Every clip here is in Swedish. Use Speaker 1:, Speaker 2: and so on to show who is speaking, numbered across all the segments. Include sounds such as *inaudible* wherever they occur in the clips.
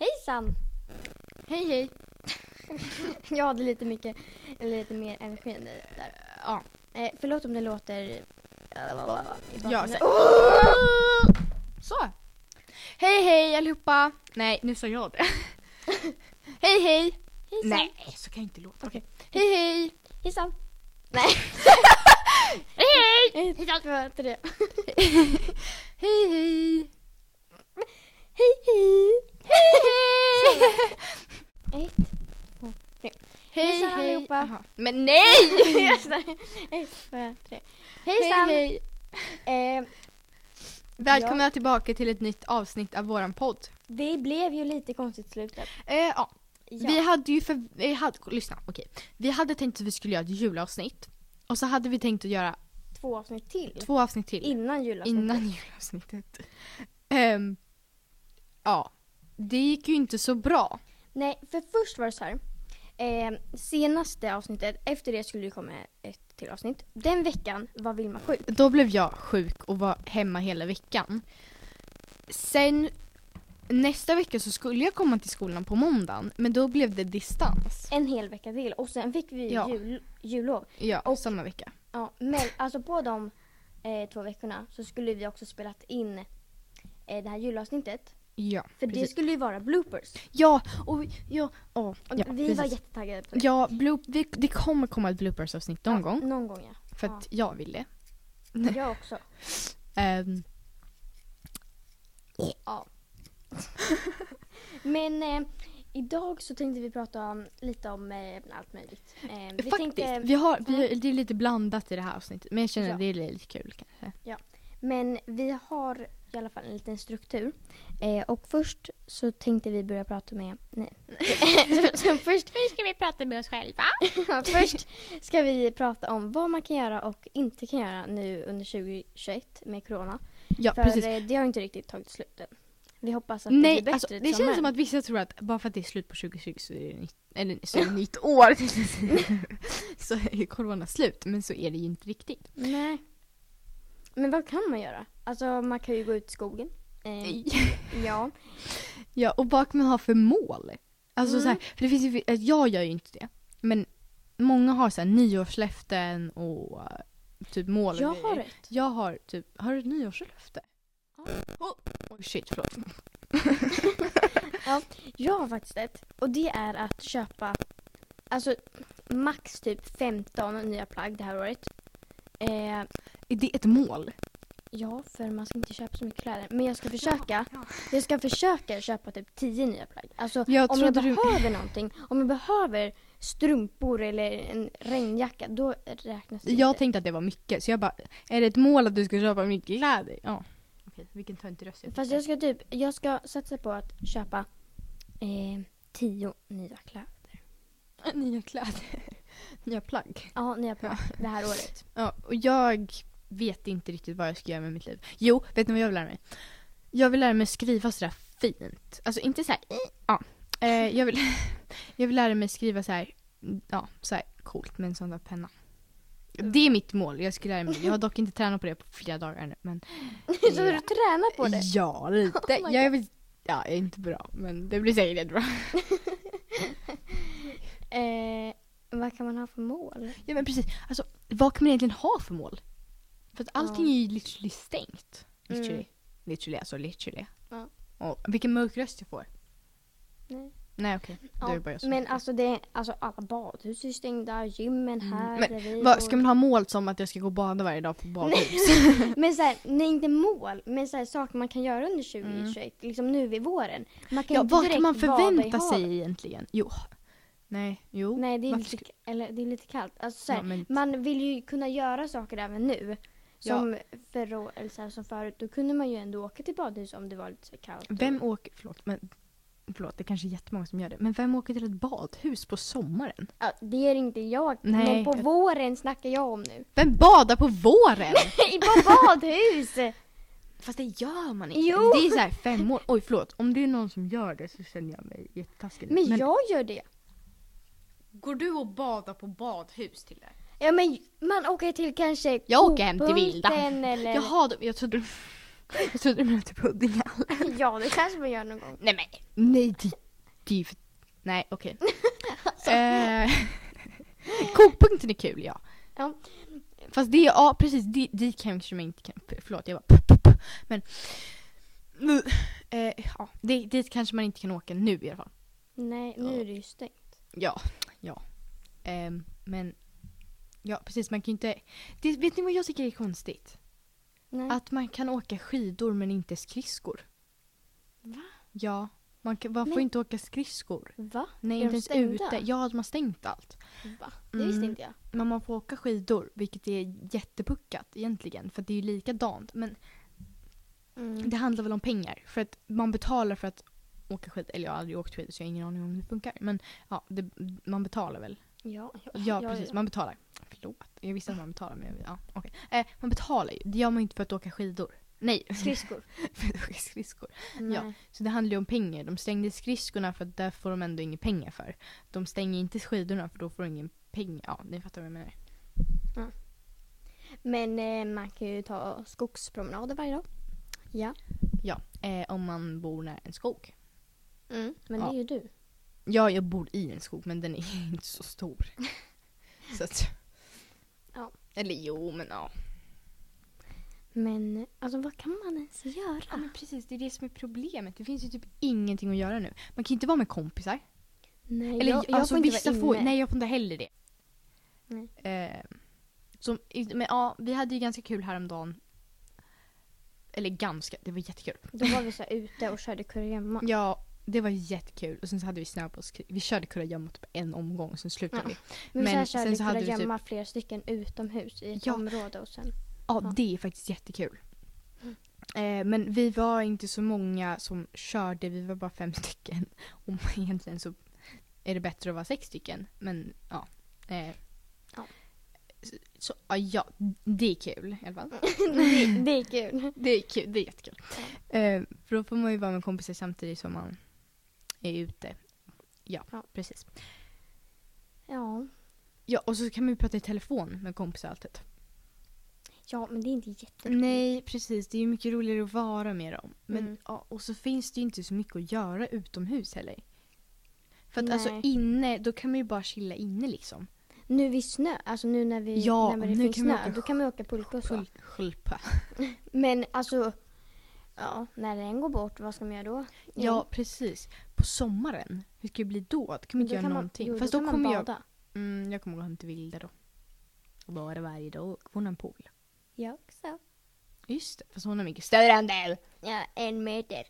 Speaker 1: Hejsan!
Speaker 2: Hej hej.
Speaker 1: *laughs* Jag hade lite mycket, eller lite mer energi än dig där.
Speaker 2: Ja.
Speaker 1: Eh, förlåt om det låter... eh,
Speaker 2: Ja, så-
Speaker 1: Oh! Åh!
Speaker 2: Så. Hej hej allihopa. Nej, nu sa jag
Speaker 1: *laughs*
Speaker 2: det. hej hej.
Speaker 1: Hejsan!
Speaker 2: Nej, så kan jag inte låta.
Speaker 1: Okej.
Speaker 2: Hej hej.
Speaker 1: Hejsan! *laughs* Nej!
Speaker 2: Hej
Speaker 1: Eh, Hejsan! Förlåt det.
Speaker 2: Hej hej.
Speaker 1: Hej hej! Hej hej! Ett.
Speaker 2: Hej
Speaker 1: Hejsan,
Speaker 2: hej.
Speaker 1: allihopa.
Speaker 2: Jaha.
Speaker 1: *laughs*
Speaker 2: Men nej!
Speaker 1: Ett, två, tre. Hejsan!
Speaker 2: Hejsan. Hej hej.
Speaker 1: Eh,
Speaker 2: Välkomna tillbaka till ett nytt avsnitt av våran podd.
Speaker 1: det blev ju lite konstigt slutet.
Speaker 2: Eh, ja.
Speaker 1: Ja.
Speaker 2: Vi hade ju för... Vi hade, lyssna, okej. Vi hade tänkt att vi skulle göra ett julavsnitt. Och så hade vi tänkt att göra
Speaker 1: Två avsnitt till.
Speaker 2: två avsnitt till.
Speaker 1: Innan julavsnittet.
Speaker 2: Innan julavsnittet. Ehm, ja, det gick ju inte så bra.
Speaker 1: Nej, för först var det så här. Eh, senaste avsnittet, efter det skulle det komma ett till avsnitt. Den veckan var Vilma sjuk.
Speaker 2: Då blev jag sjuk och var hemma hela veckan. Sen nästa vecka så skulle jag komma till skolan på måndagen men då blev det distans.
Speaker 1: En hel vecka till och sen fick vi
Speaker 2: Ja.
Speaker 1: jul, jullov.
Speaker 2: Ja,
Speaker 1: Och-
Speaker 2: samma vecka.
Speaker 1: Ja, men alltså på de eh, två veckorna så skulle vi också spelat in eh, det här julavsnittet.
Speaker 2: Ja,
Speaker 1: För det
Speaker 2: precis.
Speaker 1: skulle ju vara bloopers.
Speaker 2: Ja, och vi- ja, åh,
Speaker 1: Och
Speaker 2: ja
Speaker 1: vi var
Speaker 2: precis.
Speaker 1: jättetaggade på det.
Speaker 2: Ja, bloop, det, det kommer komma ett bloopers-avsnitt någon
Speaker 1: Ja,
Speaker 2: gång.
Speaker 1: Någon gång ja.
Speaker 2: För att jag vill det. Nej.
Speaker 1: Jag också.
Speaker 2: Ehm,
Speaker 1: Men eh, idag så tänkte vi prata om, lite om eh, allt möjligt. Eh, vi
Speaker 2: Faktiskt,
Speaker 1: tänkte-
Speaker 2: vi har, vi, det är lite blandat i det här avsnittet men jag känner
Speaker 1: Ja.
Speaker 2: att det är lite kul kanske.
Speaker 1: Men vi har i alla fall en liten struktur. Eh, och först så tänkte vi börja prata med... Nej. *laughs*
Speaker 2: *laughs*
Speaker 1: så först,
Speaker 3: ska vi prata med oss själva.
Speaker 1: ja, först ska vi prata om vad man kan göra och inte kan göra nu under 2021 med corona.
Speaker 2: Ja,
Speaker 1: För
Speaker 2: precis.
Speaker 1: eh, det har inte riktigt tagit slut än. Vi hoppas att det
Speaker 2: Nej,
Speaker 1: blir
Speaker 2: alltså,
Speaker 1: bättre
Speaker 2: det känns som att vissa tror att bara för att det är slut på 2020 så är det nytt, eller,
Speaker 1: *laughs*
Speaker 2: så är det nytt år. *laughs* så är corona slut, men så är det ju inte riktigt.
Speaker 1: Nej. Men vad kan man göra? Alltså man kan ju gå ut i skogen. Eh, ja.
Speaker 2: *laughs* Ja, och vad kan man ha för mål? Alltså,
Speaker 1: Mm.
Speaker 2: så här, för det finns ju, eh, jag gör ju inte det, men många har så här, nyårslöften och eh, typ mål och
Speaker 1: Jag
Speaker 2: grejer.
Speaker 1: har ett.
Speaker 2: Jag har typ, har du ett nyårslöfte?
Speaker 1: Ja.
Speaker 2: Oh, oh shit, förlåt.
Speaker 1: Jag har faktiskt ett. Och det är att köpa alltså max typ 15 nya plagg det här året. Eh,
Speaker 2: Är det ett mål?
Speaker 1: ja, för man ska inte köpa så mycket kläder. Men jag ska försöka. Jag ska försöka köpa typ 10 nya plagg. Alltså
Speaker 2: Jag
Speaker 1: om jag
Speaker 2: trodde du-
Speaker 1: behöver någonting. Om jag behöver strumpor eller en regnjacka, då räknas det
Speaker 2: Jag
Speaker 1: inte.
Speaker 2: tänkte att det var mycket, så jag bara, är det ett mål att du ska köpa mycket kläder? Ja. Okej, vilken töntig röst
Speaker 1: Fast jag ska typ, jag ska satsa på att köpa eh, 10 nya kläder.
Speaker 2: *laughs*
Speaker 1: *laughs*
Speaker 2: Nya kläder. Nya plagg.
Speaker 1: Ja, nya plagg det här
Speaker 2: *laughs*
Speaker 1: året. *laughs*
Speaker 2: Ja, och jag vet inte riktigt vad jag ska göra med mitt liv. Jo, vet ni vad jag vill lära mig? Jag vill lära mig skriva sådär fint. Alltså inte såhär, *clears throat* ja. Eh, jag, vill, *laughs* jag vill lära mig skriva såhär, ja, såhär coolt med en sån där penna. Det är mitt mål, jag ska lära mig. Jag har dock inte tränat på det på flera dagar nu. Men
Speaker 1: *laughs* Så du tränar på det?
Speaker 2: Ja, *laughs* lite.
Speaker 1: my
Speaker 2: jag, är väl, ja, jag är inte bra, men det blir säkert jättebra.
Speaker 1: Eh, vad kan man ha för mål?
Speaker 2: Ja, men precis. Alltså, vad kan man egentligen ha för mål? För att allting
Speaker 1: Ja.
Speaker 2: är ju literally stängt. Literally.
Speaker 1: Mm.
Speaker 2: Literally, alltså literally.
Speaker 1: Ja.
Speaker 2: Och, vilken mörk röst jag får.
Speaker 1: Nej.
Speaker 2: Nej, okej. Det är bara jag som
Speaker 1: men
Speaker 2: tycker.
Speaker 1: alltså, det, alltså alla badhus är stängda, gymmen här
Speaker 2: Men
Speaker 1: bredvid
Speaker 2: Vad, ska
Speaker 1: och-
Speaker 2: man ha mål som att jag ska gå och bada varje dag på badhus?
Speaker 1: Men så här, nej inte mål, men så här, saker man kan göra under 2021. Liksom nu vid våren. Man kan
Speaker 2: Mm. ja,
Speaker 1: inte
Speaker 2: *laughs* vad
Speaker 1: direkt
Speaker 2: kan man
Speaker 1: bada i
Speaker 2: förvänta
Speaker 1: havet.
Speaker 2: sig egentligen? Jo. Nej, jo.
Speaker 1: Nej det är,
Speaker 2: Varför
Speaker 1: lite,
Speaker 2: ska-
Speaker 1: eller, det är lite kallt. Alltså, så här,
Speaker 2: ja, men,
Speaker 1: Man vill ju kunna göra saker även nu. Som, förra, eller så här, som förut, då kunde man ju ändå åka till badhus om det var lite så här kallt. och-
Speaker 2: vem åker, förlåt, men, förlåt, det är kanske är jättemånga som gör det. Men vem åker till ett badhus på sommaren?
Speaker 1: Ja, det är inte jag,
Speaker 2: Nej.
Speaker 1: men på våren snackar jag om
Speaker 2: *laughs*
Speaker 1: nu.
Speaker 2: Vem badar på våren?
Speaker 1: på badhus!
Speaker 2: Fast det gör man inte.
Speaker 1: Jo.
Speaker 2: Det är så här fem år. Oj förlåt, om det är någon som gör det så känner jag mig jättetaskig.
Speaker 1: Men, jag gör det.
Speaker 2: Går du och badar på badhus till det?
Speaker 1: Ja, men man åker till kanske
Speaker 2: Jag åker hem till Vilda.
Speaker 1: Kopunkten Eller... *laughs*
Speaker 2: Jaha, då, jag trodde du... Jag Eh. trodde du menade Huddinge.
Speaker 1: Ja, det kanske man gör någon gång.
Speaker 2: Nej men. Nej det Det är ju för... Nej, *laughs* okej. eh, *laughs* kokpunkten är kul, ja.
Speaker 1: Ja.
Speaker 2: Fast det, ja precis, det, det kanske man inte kan... Förlåt, jag bara... p- p- p- Men... Nu, eh, ja, det, dit kanske man inte kan åka nu i alla fall.
Speaker 1: Nej, nu är det ju stängt.
Speaker 2: Ja, ja. Ehm, men... Ja, precis, man kan ju inte... Det, vet ni vad jag tycker är konstigt?
Speaker 1: Nej.
Speaker 2: Att man kan åka skidor men inte skridskor.
Speaker 1: Va?
Speaker 2: Ja. Man, kan, man får
Speaker 1: Men-
Speaker 2: inte åka skridskor.
Speaker 1: Va?
Speaker 2: Nej,
Speaker 1: Är
Speaker 2: inte
Speaker 1: de
Speaker 2: ens
Speaker 1: stängda?
Speaker 2: ute. Ja, de har stängt allt.
Speaker 1: Va? Det visste
Speaker 2: Mm.
Speaker 1: inte jag.
Speaker 2: Men man får åka skidor, vilket är jättepuckat egentligen. För det är ju likadant. Men
Speaker 1: Mm.
Speaker 2: det handlar väl om pengar. För att man betalar för att åka skidor. Eller jag har aldrig åkt skidor så jag har ingen aning om hur det funkar. Men ja, det, man betalar väl.
Speaker 1: Ja, ja,
Speaker 2: Ja, precis. Man betalar. Förlåt. Jag visste att man betalar. Men ja, okej. Eh, man betalar ju. Det gör man ju inte för att åka skidor. Nej, *laughs*
Speaker 1: Skridskor.
Speaker 2: för att åka skridskor.
Speaker 1: Nej.
Speaker 2: Ja. Så det handlar ju om pengar. De stängde skridskorna för att där får de ändå inga pengar för. De stänger inte skidorna för då får de ingen pengar. Ja, ni fattar vad jag menar.
Speaker 1: Men eh, man kan ju ta skogspromenader varje dag. Ja.
Speaker 2: Ja, eh, om man bor nära en skog.
Speaker 1: Men
Speaker 2: Mm. Ja.
Speaker 1: det är ju du.
Speaker 2: Ja, jag bor i en skog men den är *laughs* inte så stor. så att...
Speaker 1: Ja.
Speaker 2: Eller jo, men ja.
Speaker 1: Men alltså vad kan man ens
Speaker 2: ja
Speaker 1: göra?
Speaker 2: men precis, det är det som är problemet. Det finns ju typ ingenting att göra nu. Man kan inte vara med kompisar.
Speaker 1: Nej,
Speaker 2: Eller
Speaker 1: jag, jag
Speaker 2: alltså,
Speaker 1: får inte
Speaker 2: vissa
Speaker 1: vara inne.
Speaker 2: får, Nej, jag får inte heller det.
Speaker 1: Nej.
Speaker 2: Eh, som, men ja, vi hade ju ganska kul häromdagen. Eller ganska, det var jättekul.
Speaker 1: Då var vi så här ute och körde
Speaker 2: *laughs*
Speaker 1: kurragömma.
Speaker 2: Ja, det var jättekul. Och sen så hade vi snö på oss. Vi körde kurragömma typ en omgång och sen slutade
Speaker 1: Ja.
Speaker 2: vi.
Speaker 1: Men,
Speaker 2: Men
Speaker 1: men
Speaker 2: sen
Speaker 1: så här
Speaker 2: så
Speaker 1: körde
Speaker 2: hade vi
Speaker 1: vi
Speaker 2: typ-
Speaker 1: kurragömma flera stycken utomhus i ett
Speaker 2: Ja.
Speaker 1: område och
Speaker 2: *laughs*
Speaker 1: sen.
Speaker 2: Ja,
Speaker 1: Ja.
Speaker 2: det är faktiskt jättekul. Eh, men vi var inte så många som körde, vi var bara fem *laughs* stycken. Och egentligen så är det bättre att vara sex stycken. Men ja. Eh,
Speaker 1: Ja.
Speaker 2: Så, så, ja, ja, det är kul i alla fall.
Speaker 1: det, det är kul.
Speaker 2: Det är kul, det är jättekul. Eh, för då får man ju vara med kompisar samtidigt som man är ute. Ja,
Speaker 1: Ja.
Speaker 2: precis.
Speaker 1: Ja.
Speaker 2: Ja, och så kan man ju prata i telefon med kompisar alltid.
Speaker 1: ja, men det är inte jätteroligt.
Speaker 2: Nej, precis. Det är ju mycket roligare att vara med dem. Men,
Speaker 1: Mm.
Speaker 2: ja, och så finns det ju inte så mycket att göra utomhus heller. För att alltså
Speaker 1: Nej.
Speaker 2: inne, då kan man ju bara chilla inne liksom.
Speaker 1: Nu vid snö, alltså nu när, vi, när
Speaker 2: Ja, nu
Speaker 1: det finns
Speaker 2: kan vi
Speaker 1: snö,
Speaker 2: åka
Speaker 1: då kan man åka pulka och så.
Speaker 2: Skul- Skölpa.
Speaker 1: Men alltså, ja, när den går bort, vad ska man göra då? Jo,
Speaker 2: Ja, precis. På sommaren, hur ska det bli då? Då kan man
Speaker 1: men då
Speaker 2: inte göra
Speaker 1: kan man-
Speaker 2: någonting.
Speaker 1: jo,
Speaker 2: Fast
Speaker 1: då
Speaker 2: då,
Speaker 1: kan man
Speaker 2: kommer jag...
Speaker 1: bada.
Speaker 2: Mm, jag kommer gå hem till Vilda då. Och Bara varje dag. Hon har en pool.
Speaker 1: Jag också.
Speaker 2: Just det, fast hon har mycket större än dig.
Speaker 1: Ja, en meter.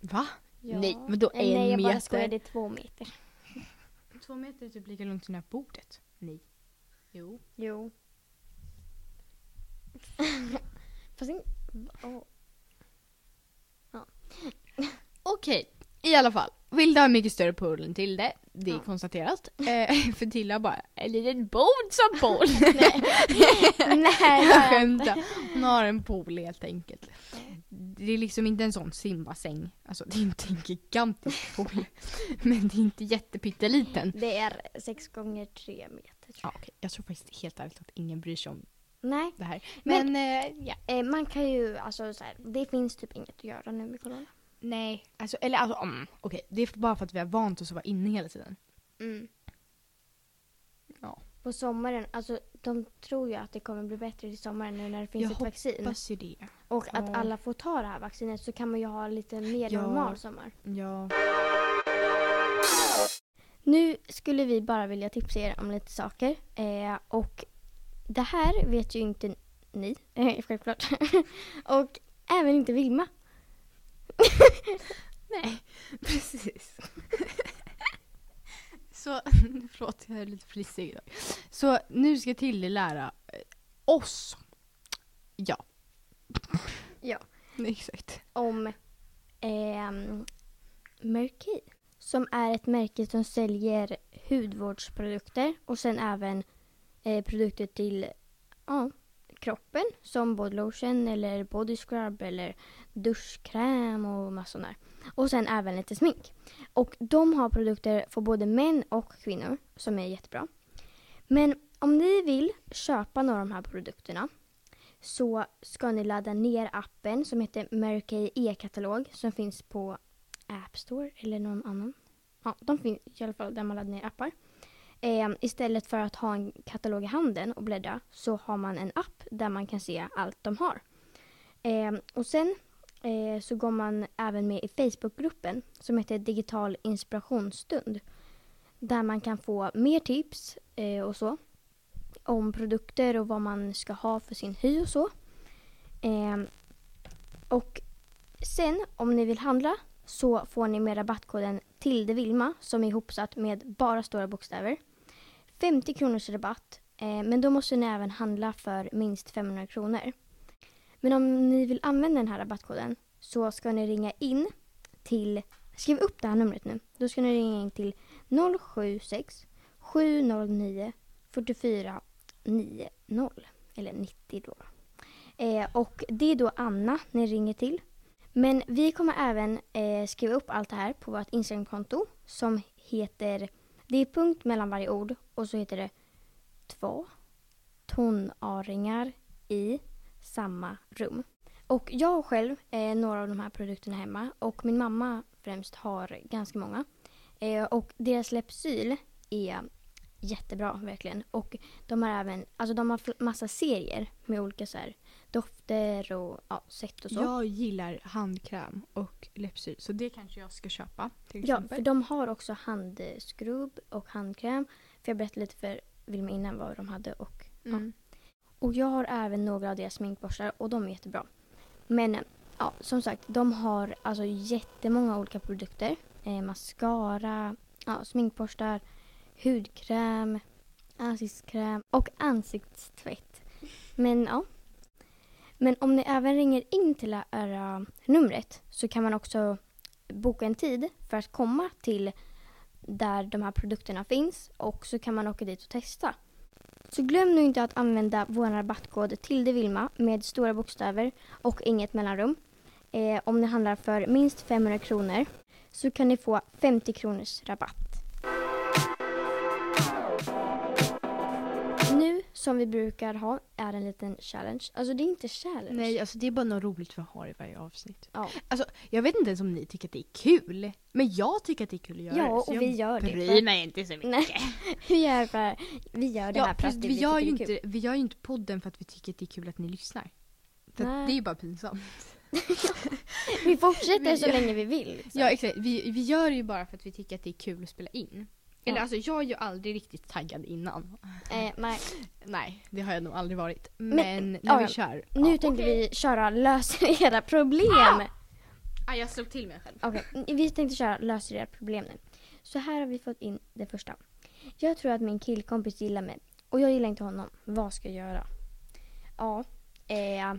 Speaker 2: Va?
Speaker 1: Ja.
Speaker 2: Nej, vadå en
Speaker 1: Nej, jag bara
Speaker 2: meter?
Speaker 1: skojar, det är två meter.
Speaker 2: Två meter är typ lika långt som det här bordet. Nej. Jo.
Speaker 1: Jo. *laughs* Fast
Speaker 2: *laughs*
Speaker 1: in... åh.
Speaker 2: Okej, i alla fall. Vilda har mycket större pool än Tilde. Det är
Speaker 1: Ja.
Speaker 2: konstaterat. Eh, *laughs* för Tilde har bara en liten bod som pool.
Speaker 1: Nej,
Speaker 2: Jag skämtar. Hon har en pool helt enkelt. Det är liksom inte en sån simbassäng. Alltså det är inte en gigantisk pool. *laughs* Men det är inte jättepytteliten.
Speaker 1: Det är sex gånger tre meter. tror jag.
Speaker 2: Ja, okej. Jag tror faktiskt helt ärligt att ingen bryr sig om
Speaker 1: Nej,
Speaker 2: det här. Men,
Speaker 1: Men-
Speaker 2: eh, ja.
Speaker 1: eh, man kan ju alltså så här, det finns typ inget att göra nu med corona.
Speaker 2: Nej. Alltså, eller alltså, mm, okej. Det är bara för att vi har vant oss att vara inne hela tiden. Ja.
Speaker 1: På sommaren, alltså de tror ju att det kommer bli bättre till sommaren nu när det finns
Speaker 2: Jag
Speaker 1: ett vaccin.
Speaker 2: Hoppas ju det.
Speaker 1: Och att
Speaker 2: Ja.
Speaker 1: alla får ta det här vaccinet så kan man ju ha lite mer
Speaker 2: Ja.
Speaker 1: normal sommar.
Speaker 2: Ja.
Speaker 1: Nu skulle vi bara vilja tipsa er om lite saker. Eh, och det här vet ju inte ni, *laughs* eh, självklart. och även inte Vilma.
Speaker 2: Nej,
Speaker 1: *laughs*
Speaker 2: precis. *laughs* Så, *laughs* förlåt jag är lite frisig idag. Så nu ska Tilde lära eh, oss. Ja.
Speaker 1: Ja.
Speaker 2: Nej, *laughs* Exakt.
Speaker 1: om ehm, Merki. Som är ett märke som säljer hudvårdsprodukter och sen även eh, produkter till ja, kroppen som bodylotion eller body scrub eller duschkräm och massor där. Och sen även lite smink. Och de har produkter för både män och kvinnor som är jättebra. Men om ni vill köpa några av de här produkterna så ska ni ladda ner appen som heter Merkey e-katalog som finns på App Store eller någon annan ja, de finns i alla fall där man laddar ner appar. Eh, istället för att ha en katalog i handen och bläddra så har man en app där man kan se allt de har. Eh, och sen eh, så går man även med i Facebookgruppen som heter Digital inspirationsstund. Där man kan få mer tips eh, och så om produkter och vad man ska ha för sin hy och så. Eh, och sen om ni vill handla så får ni med rabattkoden Tilde Vilma som är ihopsatt med bara stora bokstäver. 50 kronors rabatt eh, men då måste ni även handla för minst 500 kronor. Men om ni vill använda den här rabattkoden så ska ni ringa in till, skriv upp det här numret nu, då ska ni ringa in till 076 709 44 90 eller 90 då. Eh, och det är då Anna ni ringer till. Men vi kommer även eh, skriva upp allt det här på vårt Instagramkonto som heter, det är punkt mellan varje ord och så heter det två tonåringar i samma rum. Och jag har själv eh, några av de här produkterna hemma och min mamma främst har ganska många. Eh, och deras Lypsyl är jättebra verkligen. Och de har även, alltså de har fl- massa serier med olika så här dofter och ja, sätt och så.
Speaker 2: Jag gillar handkräm och läppsyl så det kanske jag ska köpa till
Speaker 1: Ja, för
Speaker 2: exempel.
Speaker 1: de har också handskrubb och handkräm. För jag berättade lite för Vilma innan vad de hade. Och,
Speaker 2: mm.
Speaker 1: och jag har även några av deras sminkborstar och de är jättebra. Men eh, ja, som sagt, de har alltså jättemånga olika produkter. Eh, mascara, ja, sminkborstar, hudkräm, ansiktskräm och ansiktstvätt. Men ja. Men om ni även ringer in till det här numret så kan man också boka en tid för att komma till där de här produkterna finns och så kan man åka dit och testa. Så glöm nu inte att använda vår rabattkod Tilde Vilma med stora bokstäver och inget mellanrum. Eh, om ni handlar för minst 500 kronor så kan ni få 50 kronors rabatt. Nu som vi brukar ha är en liten challenge. Alltså det är inte challenge.
Speaker 2: Nej, alltså det är bara något roligt vi har i varje avsnitt.
Speaker 1: Ja.
Speaker 2: Alltså, jag vet inte ens om ni tycker att det är kul. Men jag tycker att det är kul att göra
Speaker 1: Ja,
Speaker 2: *laughs* det. så
Speaker 1: och
Speaker 2: jag
Speaker 1: vi gör det.
Speaker 2: bryr mig inte så mycket.
Speaker 1: Nej, *laughs* vi gör, bara, vi gör det här
Speaker 2: Ja,
Speaker 1: för att
Speaker 2: precis,
Speaker 1: vi,
Speaker 2: vi, gör ju
Speaker 1: tycker det är kul.
Speaker 2: inte, vi gör ju inte podden för att vi tycker att det är kul att ni lyssnar. För
Speaker 1: Nej.
Speaker 2: att det är ju bara pinsamt.
Speaker 1: Vi fortsätter
Speaker 2: vi
Speaker 1: så
Speaker 2: gör-
Speaker 1: länge vi vill. liksom.
Speaker 2: Ja, exakt. Vi, vi gör det ju bara för att vi tycker att det är kul att spela in. Eller
Speaker 1: Ja.
Speaker 2: alltså jag är ju aldrig riktigt taggad innan.
Speaker 1: Eh, nej.
Speaker 2: Nej, det har jag nog aldrig varit. Men,
Speaker 1: Men,
Speaker 2: när
Speaker 1: ja,
Speaker 2: vi
Speaker 1: ja.
Speaker 2: kör.
Speaker 1: Nu
Speaker 2: ja,
Speaker 1: tänkte
Speaker 2: okej.
Speaker 1: vi köra löser *laughs* era problem.
Speaker 2: Ah, jag slog till mig själv.
Speaker 1: Okej, vi tänkte köra löser era problem nu. Så här har vi fått in det första. Jag tror att min killkompis gillar mig och jag gillar inte honom. Vad ska jag göra? Ja,
Speaker 2: *laughs*
Speaker 1: eh,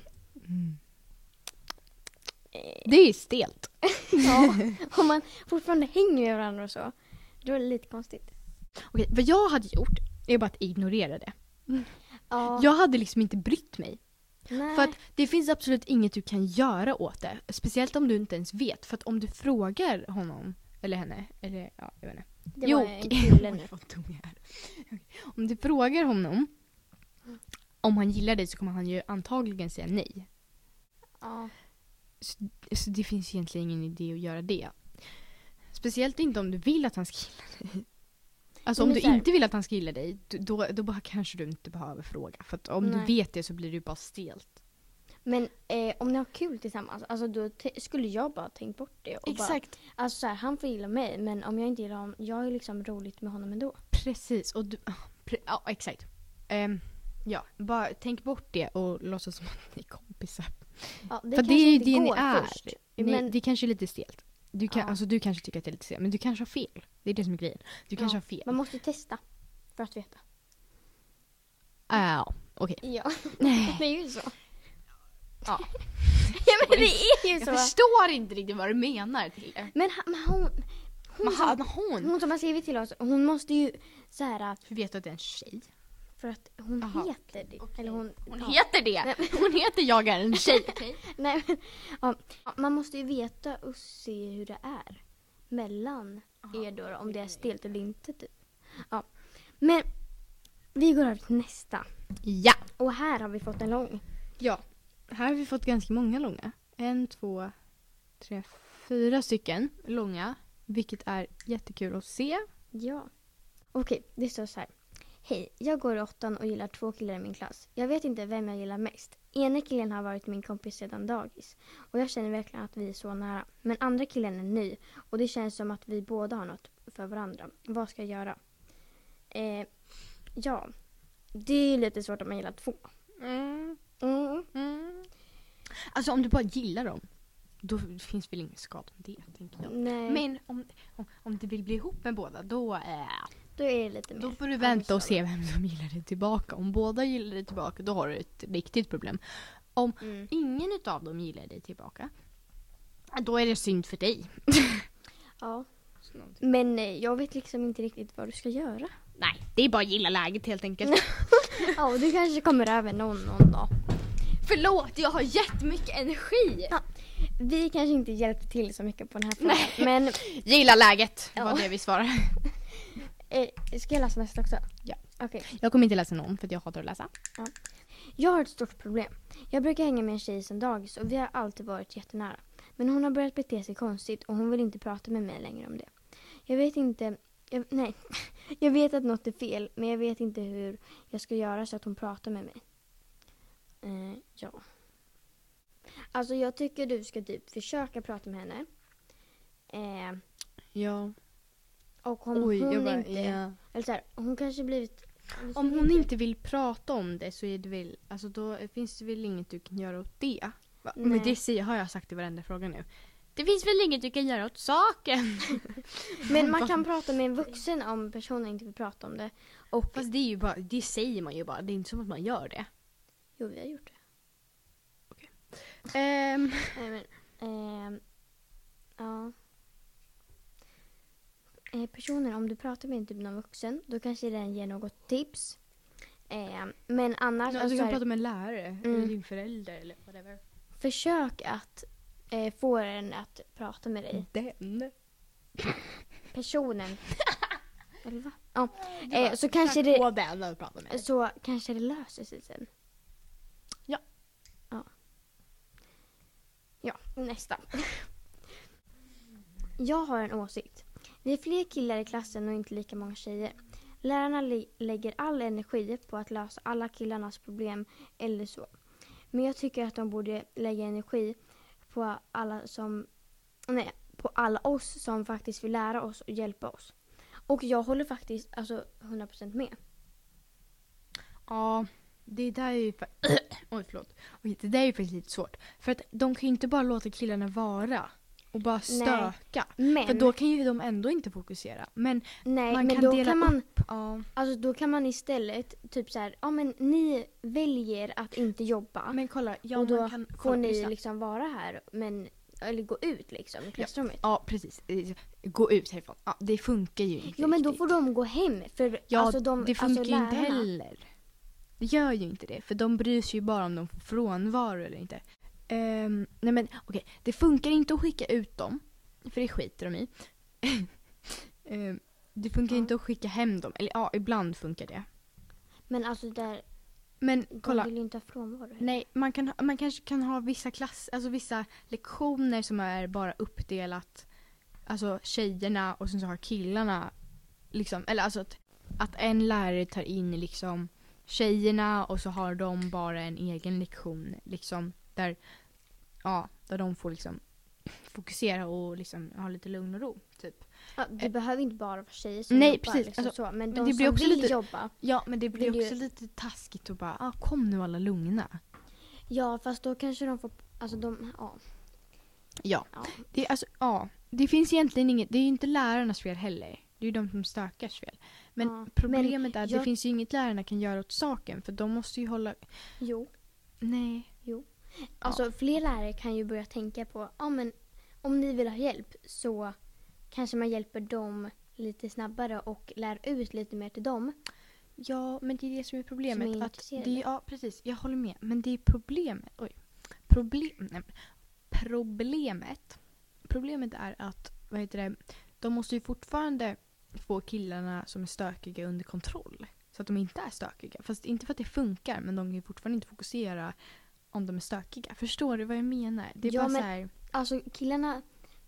Speaker 2: Det är ju stelt.
Speaker 1: ja. om man fortfarande hänger med varandra och så, då är det lite konstigt.
Speaker 2: Okej, vad jag hade gjort är bara att ignorera det.
Speaker 1: Ja,
Speaker 2: Jag hade liksom inte brytt mig.
Speaker 1: nej.
Speaker 2: För att det finns absolut inget du kan göra åt det. Speciellt om du inte ens vet. För att om du frågar honom, eller henne, eller ja, jag vet inte.
Speaker 1: det
Speaker 2: jo,
Speaker 1: var en kille nu.
Speaker 2: Oj, *laughs* vad dum jag är. Okej. Om du frågar honom om han gillar dig så kommer han ju antagligen säga nej.
Speaker 1: Ja.
Speaker 2: Så, så det finns egentligen ingen idé att göra det. Speciellt inte om du vill att han ska gilla dig. Alltså om
Speaker 1: Men
Speaker 2: du
Speaker 1: så här-
Speaker 2: inte vill att han ska gilla dig, d- då, då bara kanske du inte behöver fråga. För att om
Speaker 1: Nej.
Speaker 2: du vet det så blir du bara stelt.
Speaker 1: Men eh, om ni har kul tillsammans, alltså då t- skulle jag bara tänkt bort det. Och Bara, alltså så här, han får gilla mig men om jag inte gillar honom, jag är liksom roligt med honom ändå.
Speaker 2: Precis. Och du, ah, pre, ja, exakt. Ehm, ja, bara tänk bort det och låtsas som att ni är kompisar.
Speaker 1: Ja,
Speaker 2: För det
Speaker 1: kanske
Speaker 2: är ju
Speaker 1: inte
Speaker 2: det ni
Speaker 1: går
Speaker 2: är.
Speaker 1: först.
Speaker 2: Nej,
Speaker 1: men,
Speaker 2: det kanske är lite stelt. Du, kan,
Speaker 1: Ja.
Speaker 2: alltså, du kanske tycker att det är lite stelt, men du kanske har fel. Det är det som är grejen. Du kanske
Speaker 1: Ja,
Speaker 2: har fel.
Speaker 1: Man måste testa för att veta.
Speaker 2: Ja, okej.
Speaker 1: Ja,
Speaker 2: Nej.
Speaker 1: *laughs* det är ju så.
Speaker 2: Ja.
Speaker 1: *laughs* ja men det är ju
Speaker 2: Jag
Speaker 1: så.
Speaker 2: förstår inte riktigt vad du menar. Tilde.
Speaker 1: Men, han- men hon, hon,
Speaker 2: Men han,
Speaker 1: som,
Speaker 2: hon...
Speaker 1: hon som har skrivit till oss, hon måste ju så här
Speaker 2: Hur vet du att det är en tjej?
Speaker 1: för att hon
Speaker 2: Aha,
Speaker 1: heter det. Eller hon,
Speaker 2: Hon
Speaker 1: ja.
Speaker 2: heter
Speaker 1: Nej,
Speaker 2: det! Hon heter jag är en tjej. *laughs* okej?
Speaker 1: Nej, men, ja, man måste ju veta och se hur det är mellan er då, då, om det är stelt eller inte. Typ. Ja. Men vi går över till nästa.
Speaker 2: Ja.
Speaker 1: Och här har vi fått en lång.
Speaker 2: ja. Här har vi fått ganska många långa. En, två, tre, fyra stycken långa. Vilket är jättekul att se.
Speaker 1: Ja. Okej, det står så här. Hej, jag går i åttan och gillar två killar i min klass. Jag vet inte vem jag gillar mest. Ena killen har varit min kompis sedan dagis och jag känner verkligen att vi är så nära. Men andra killen är ny och det känns som att vi båda har något för varandra. Vad ska jag göra? Eh, ja, det är ju lite svårt om man gillar två.
Speaker 2: Mm,
Speaker 1: Mm.
Speaker 2: mm. Alltså om du bara gillar dem, då finns väl ingen skada med det tänker jag.
Speaker 1: Nej,
Speaker 2: Men om, om, om du vill bli ihop med båda, då, eh,
Speaker 1: då är det lite mer.
Speaker 2: då får du vänta och se vem som gillar dig tillbaka. Om båda gillar dig tillbaka, då har du ett riktigt problem.
Speaker 1: Mm.
Speaker 2: Ingen utav dem gillar dig tillbaka, då är det synd för dig.
Speaker 1: Ja. Men eh, jag vet liksom inte riktigt vad du ska göra. *laughs*
Speaker 2: Nej, det är bara att gilla läget helt enkelt. *laughs*
Speaker 1: Ja, och du kanske kommer över någon någon dag.
Speaker 2: Förlåt, jag har jättemycket energi!
Speaker 1: Vi kanske inte hjälpte till så mycket på den här frågan. Men
Speaker 2: Gilla läget
Speaker 1: Ja.
Speaker 2: var det vi svarade.
Speaker 1: eh, ska jag läsa nästa också?
Speaker 2: Ja.
Speaker 1: Okej.
Speaker 2: Jag kommer inte läsa någon för att jag hatar att läsa.
Speaker 1: Jag har ett stort problem. Jag brukar hänga med en tjej sedan dagis och vi har alltid varit jättenära. Men hon har börjat bete sig konstigt och hon vill inte prata med mig längre om det. Jag vet inte... Jag, nej. *laughs* Jag vet att något är fel men jag vet inte hur jag ska göra så att hon pratar med mig. Eh, ja. Alltså jag tycker du ska typ försöka prata med henne. Eh,
Speaker 2: Ja.
Speaker 1: och om
Speaker 2: Oj,
Speaker 1: hon
Speaker 2: jag bara,
Speaker 1: inte...
Speaker 2: ja.
Speaker 1: Eller så här, hon kanske blivit...
Speaker 2: Om hon inte vill prata om det så är det väl, alltså då finns det väl inget du kan göra åt det. Va?
Speaker 1: Nej.
Speaker 2: Men det säger, har jag sagt i varenda fråga nu. Det finns väl inget du kan göra åt saken.
Speaker 1: Men man kan prata med en vuxen om personen inte vill prata om det. Och...
Speaker 2: Fast det är ju bara, det säger man ju bara. Det är inte som att man gör det.
Speaker 1: Jo, vi har gjort det.
Speaker 2: Ehm,
Speaker 1: Nej, men... ehm, ja. Eh, personen, om du pratar med typ någon vuxen, då kanske den ger något tips. Ehm, men annars,
Speaker 2: alltså,
Speaker 1: alltså,
Speaker 2: du
Speaker 1: så
Speaker 2: kan
Speaker 1: här,
Speaker 2: prata med en lärare eller
Speaker 1: Mm.
Speaker 2: din förälder eller whatever.
Speaker 1: försök att eh, få den att prata med
Speaker 2: Mm.
Speaker 1: dig.
Speaker 2: Den. *laughs*
Speaker 1: Personen. Eller va? Ja. Eh, så kanske det...
Speaker 2: På den att prata med.
Speaker 1: Så kanske det löser sig sen.
Speaker 2: Ja.
Speaker 1: Ja. Ja, nästa. *laughs* Jag har en åsikt. Vi är fler killar i klassen och inte lika många tjejer. Lärarna lä- lägger all energi på att lösa alla killarnas problem eller så. Men jag tycker att de borde lägga energi på alla som... Nej, på alla oss som faktiskt vill lära oss och hjälpa oss. Och jag håller faktiskt alltså 100% med.
Speaker 2: Ja, det där är ju... fa- *clears throat* Oj, förlåt. Oj, det där är ju faktiskt lite svårt. För att de kan ju inte bara låta killarna vara och bara stöka.
Speaker 1: Men...
Speaker 2: För då kan ju de ändå inte fokusera. Men
Speaker 1: Nej,
Speaker 2: man
Speaker 1: men
Speaker 2: kan
Speaker 1: då
Speaker 2: dela
Speaker 1: kan, man,
Speaker 2: upp. Ja.
Speaker 1: alltså, då kan man istället typ så här, ja men ni väljer att inte jobba
Speaker 2: Men kolla, ja,
Speaker 1: och då
Speaker 2: man kan...
Speaker 1: får
Speaker 2: Kolla,
Speaker 1: ni
Speaker 2: lyssna.
Speaker 1: liksom vara här men, eller gå ut liksom i klassrummet.
Speaker 2: Ja, precis. Eh, Gå ut härifrån. Ja, det funkar ju inte
Speaker 1: Jo men då
Speaker 2: riktigt.
Speaker 1: får de gå hem för
Speaker 2: Ja,
Speaker 1: alltså de,
Speaker 2: det funkar
Speaker 1: alltså,
Speaker 2: ju inte
Speaker 1: lärarna-
Speaker 2: heller. Det gör ju inte det, för de bryr sig ju bara om de får frånvaro eller inte. Ehm, nej men okej, det funkar inte att skicka ut dem, för det skiter de i. *laughs* Ehm, det funkar
Speaker 1: Ja.
Speaker 2: inte att skicka hem dem, eller ja, ibland funkar det.
Speaker 1: Men alltså där,
Speaker 2: Men
Speaker 1: de
Speaker 2: kolla,
Speaker 1: vill ju inte ha frånvaro. heller.
Speaker 2: nej, man, kan, ha- man kanske kan ha vissa klass, alltså vissa lektioner som är bara uppdelat, alltså tjejerna och sen så har killarna, liksom, eller alltså att, att en lärare tar in liksom tjejerna och så har de bara en egen lektion liksom där, ja, där de får liksom fokusera och liksom ha lite lugn och ro typ.
Speaker 1: Ja, det behöver inte bara vara tjejer som
Speaker 2: nej,
Speaker 1: jobbar.
Speaker 2: precis.
Speaker 1: Liksom,
Speaker 2: Alltså,
Speaker 1: så. Men de
Speaker 2: det
Speaker 1: som
Speaker 2: blir också
Speaker 1: vill
Speaker 2: lite-
Speaker 1: jobba,
Speaker 2: Ja men det blir
Speaker 1: Vill ju-
Speaker 2: också lite taskigt att bara, ah, kom nu alla lugna.
Speaker 1: ja fast då kanske de får, alltså de, ja.
Speaker 2: Ja.
Speaker 1: Ja.
Speaker 2: Det, är alltså, ja. det finns egentligen inget, det är ju inte lärarnas fel heller. Det är ju de som stökars fel. Men
Speaker 1: Ja,
Speaker 2: problemet är att det
Speaker 1: jag-
Speaker 2: finns ju inget lärarna kan göra åt saken för de måste ju hålla...
Speaker 1: Jo.
Speaker 2: Nej.
Speaker 1: Alltså fler lärare kan ju börja tänka på, ja men om ni vill ha hjälp så kanske man hjälper dem lite snabbare och lär ut lite mer till dem.
Speaker 2: Ja, men det är det som är problemet.
Speaker 1: Som är
Speaker 2: att det
Speaker 1: intresserade.
Speaker 2: är, ja, precis. Jag håller med. Men det är problemet. Oj. Problem, nej, men problemet. Problemet är att, vad heter det, de måste ju fortfarande få killarna som är stökiga under kontroll. Så att de inte är stökiga. Fast inte för att det funkar, men de kan ju fortfarande inte fokusera om de är stökiga. Förstår du vad jag menar? Det är
Speaker 1: Ja,
Speaker 2: bara
Speaker 1: men-
Speaker 2: så här,
Speaker 1: Alltså killarna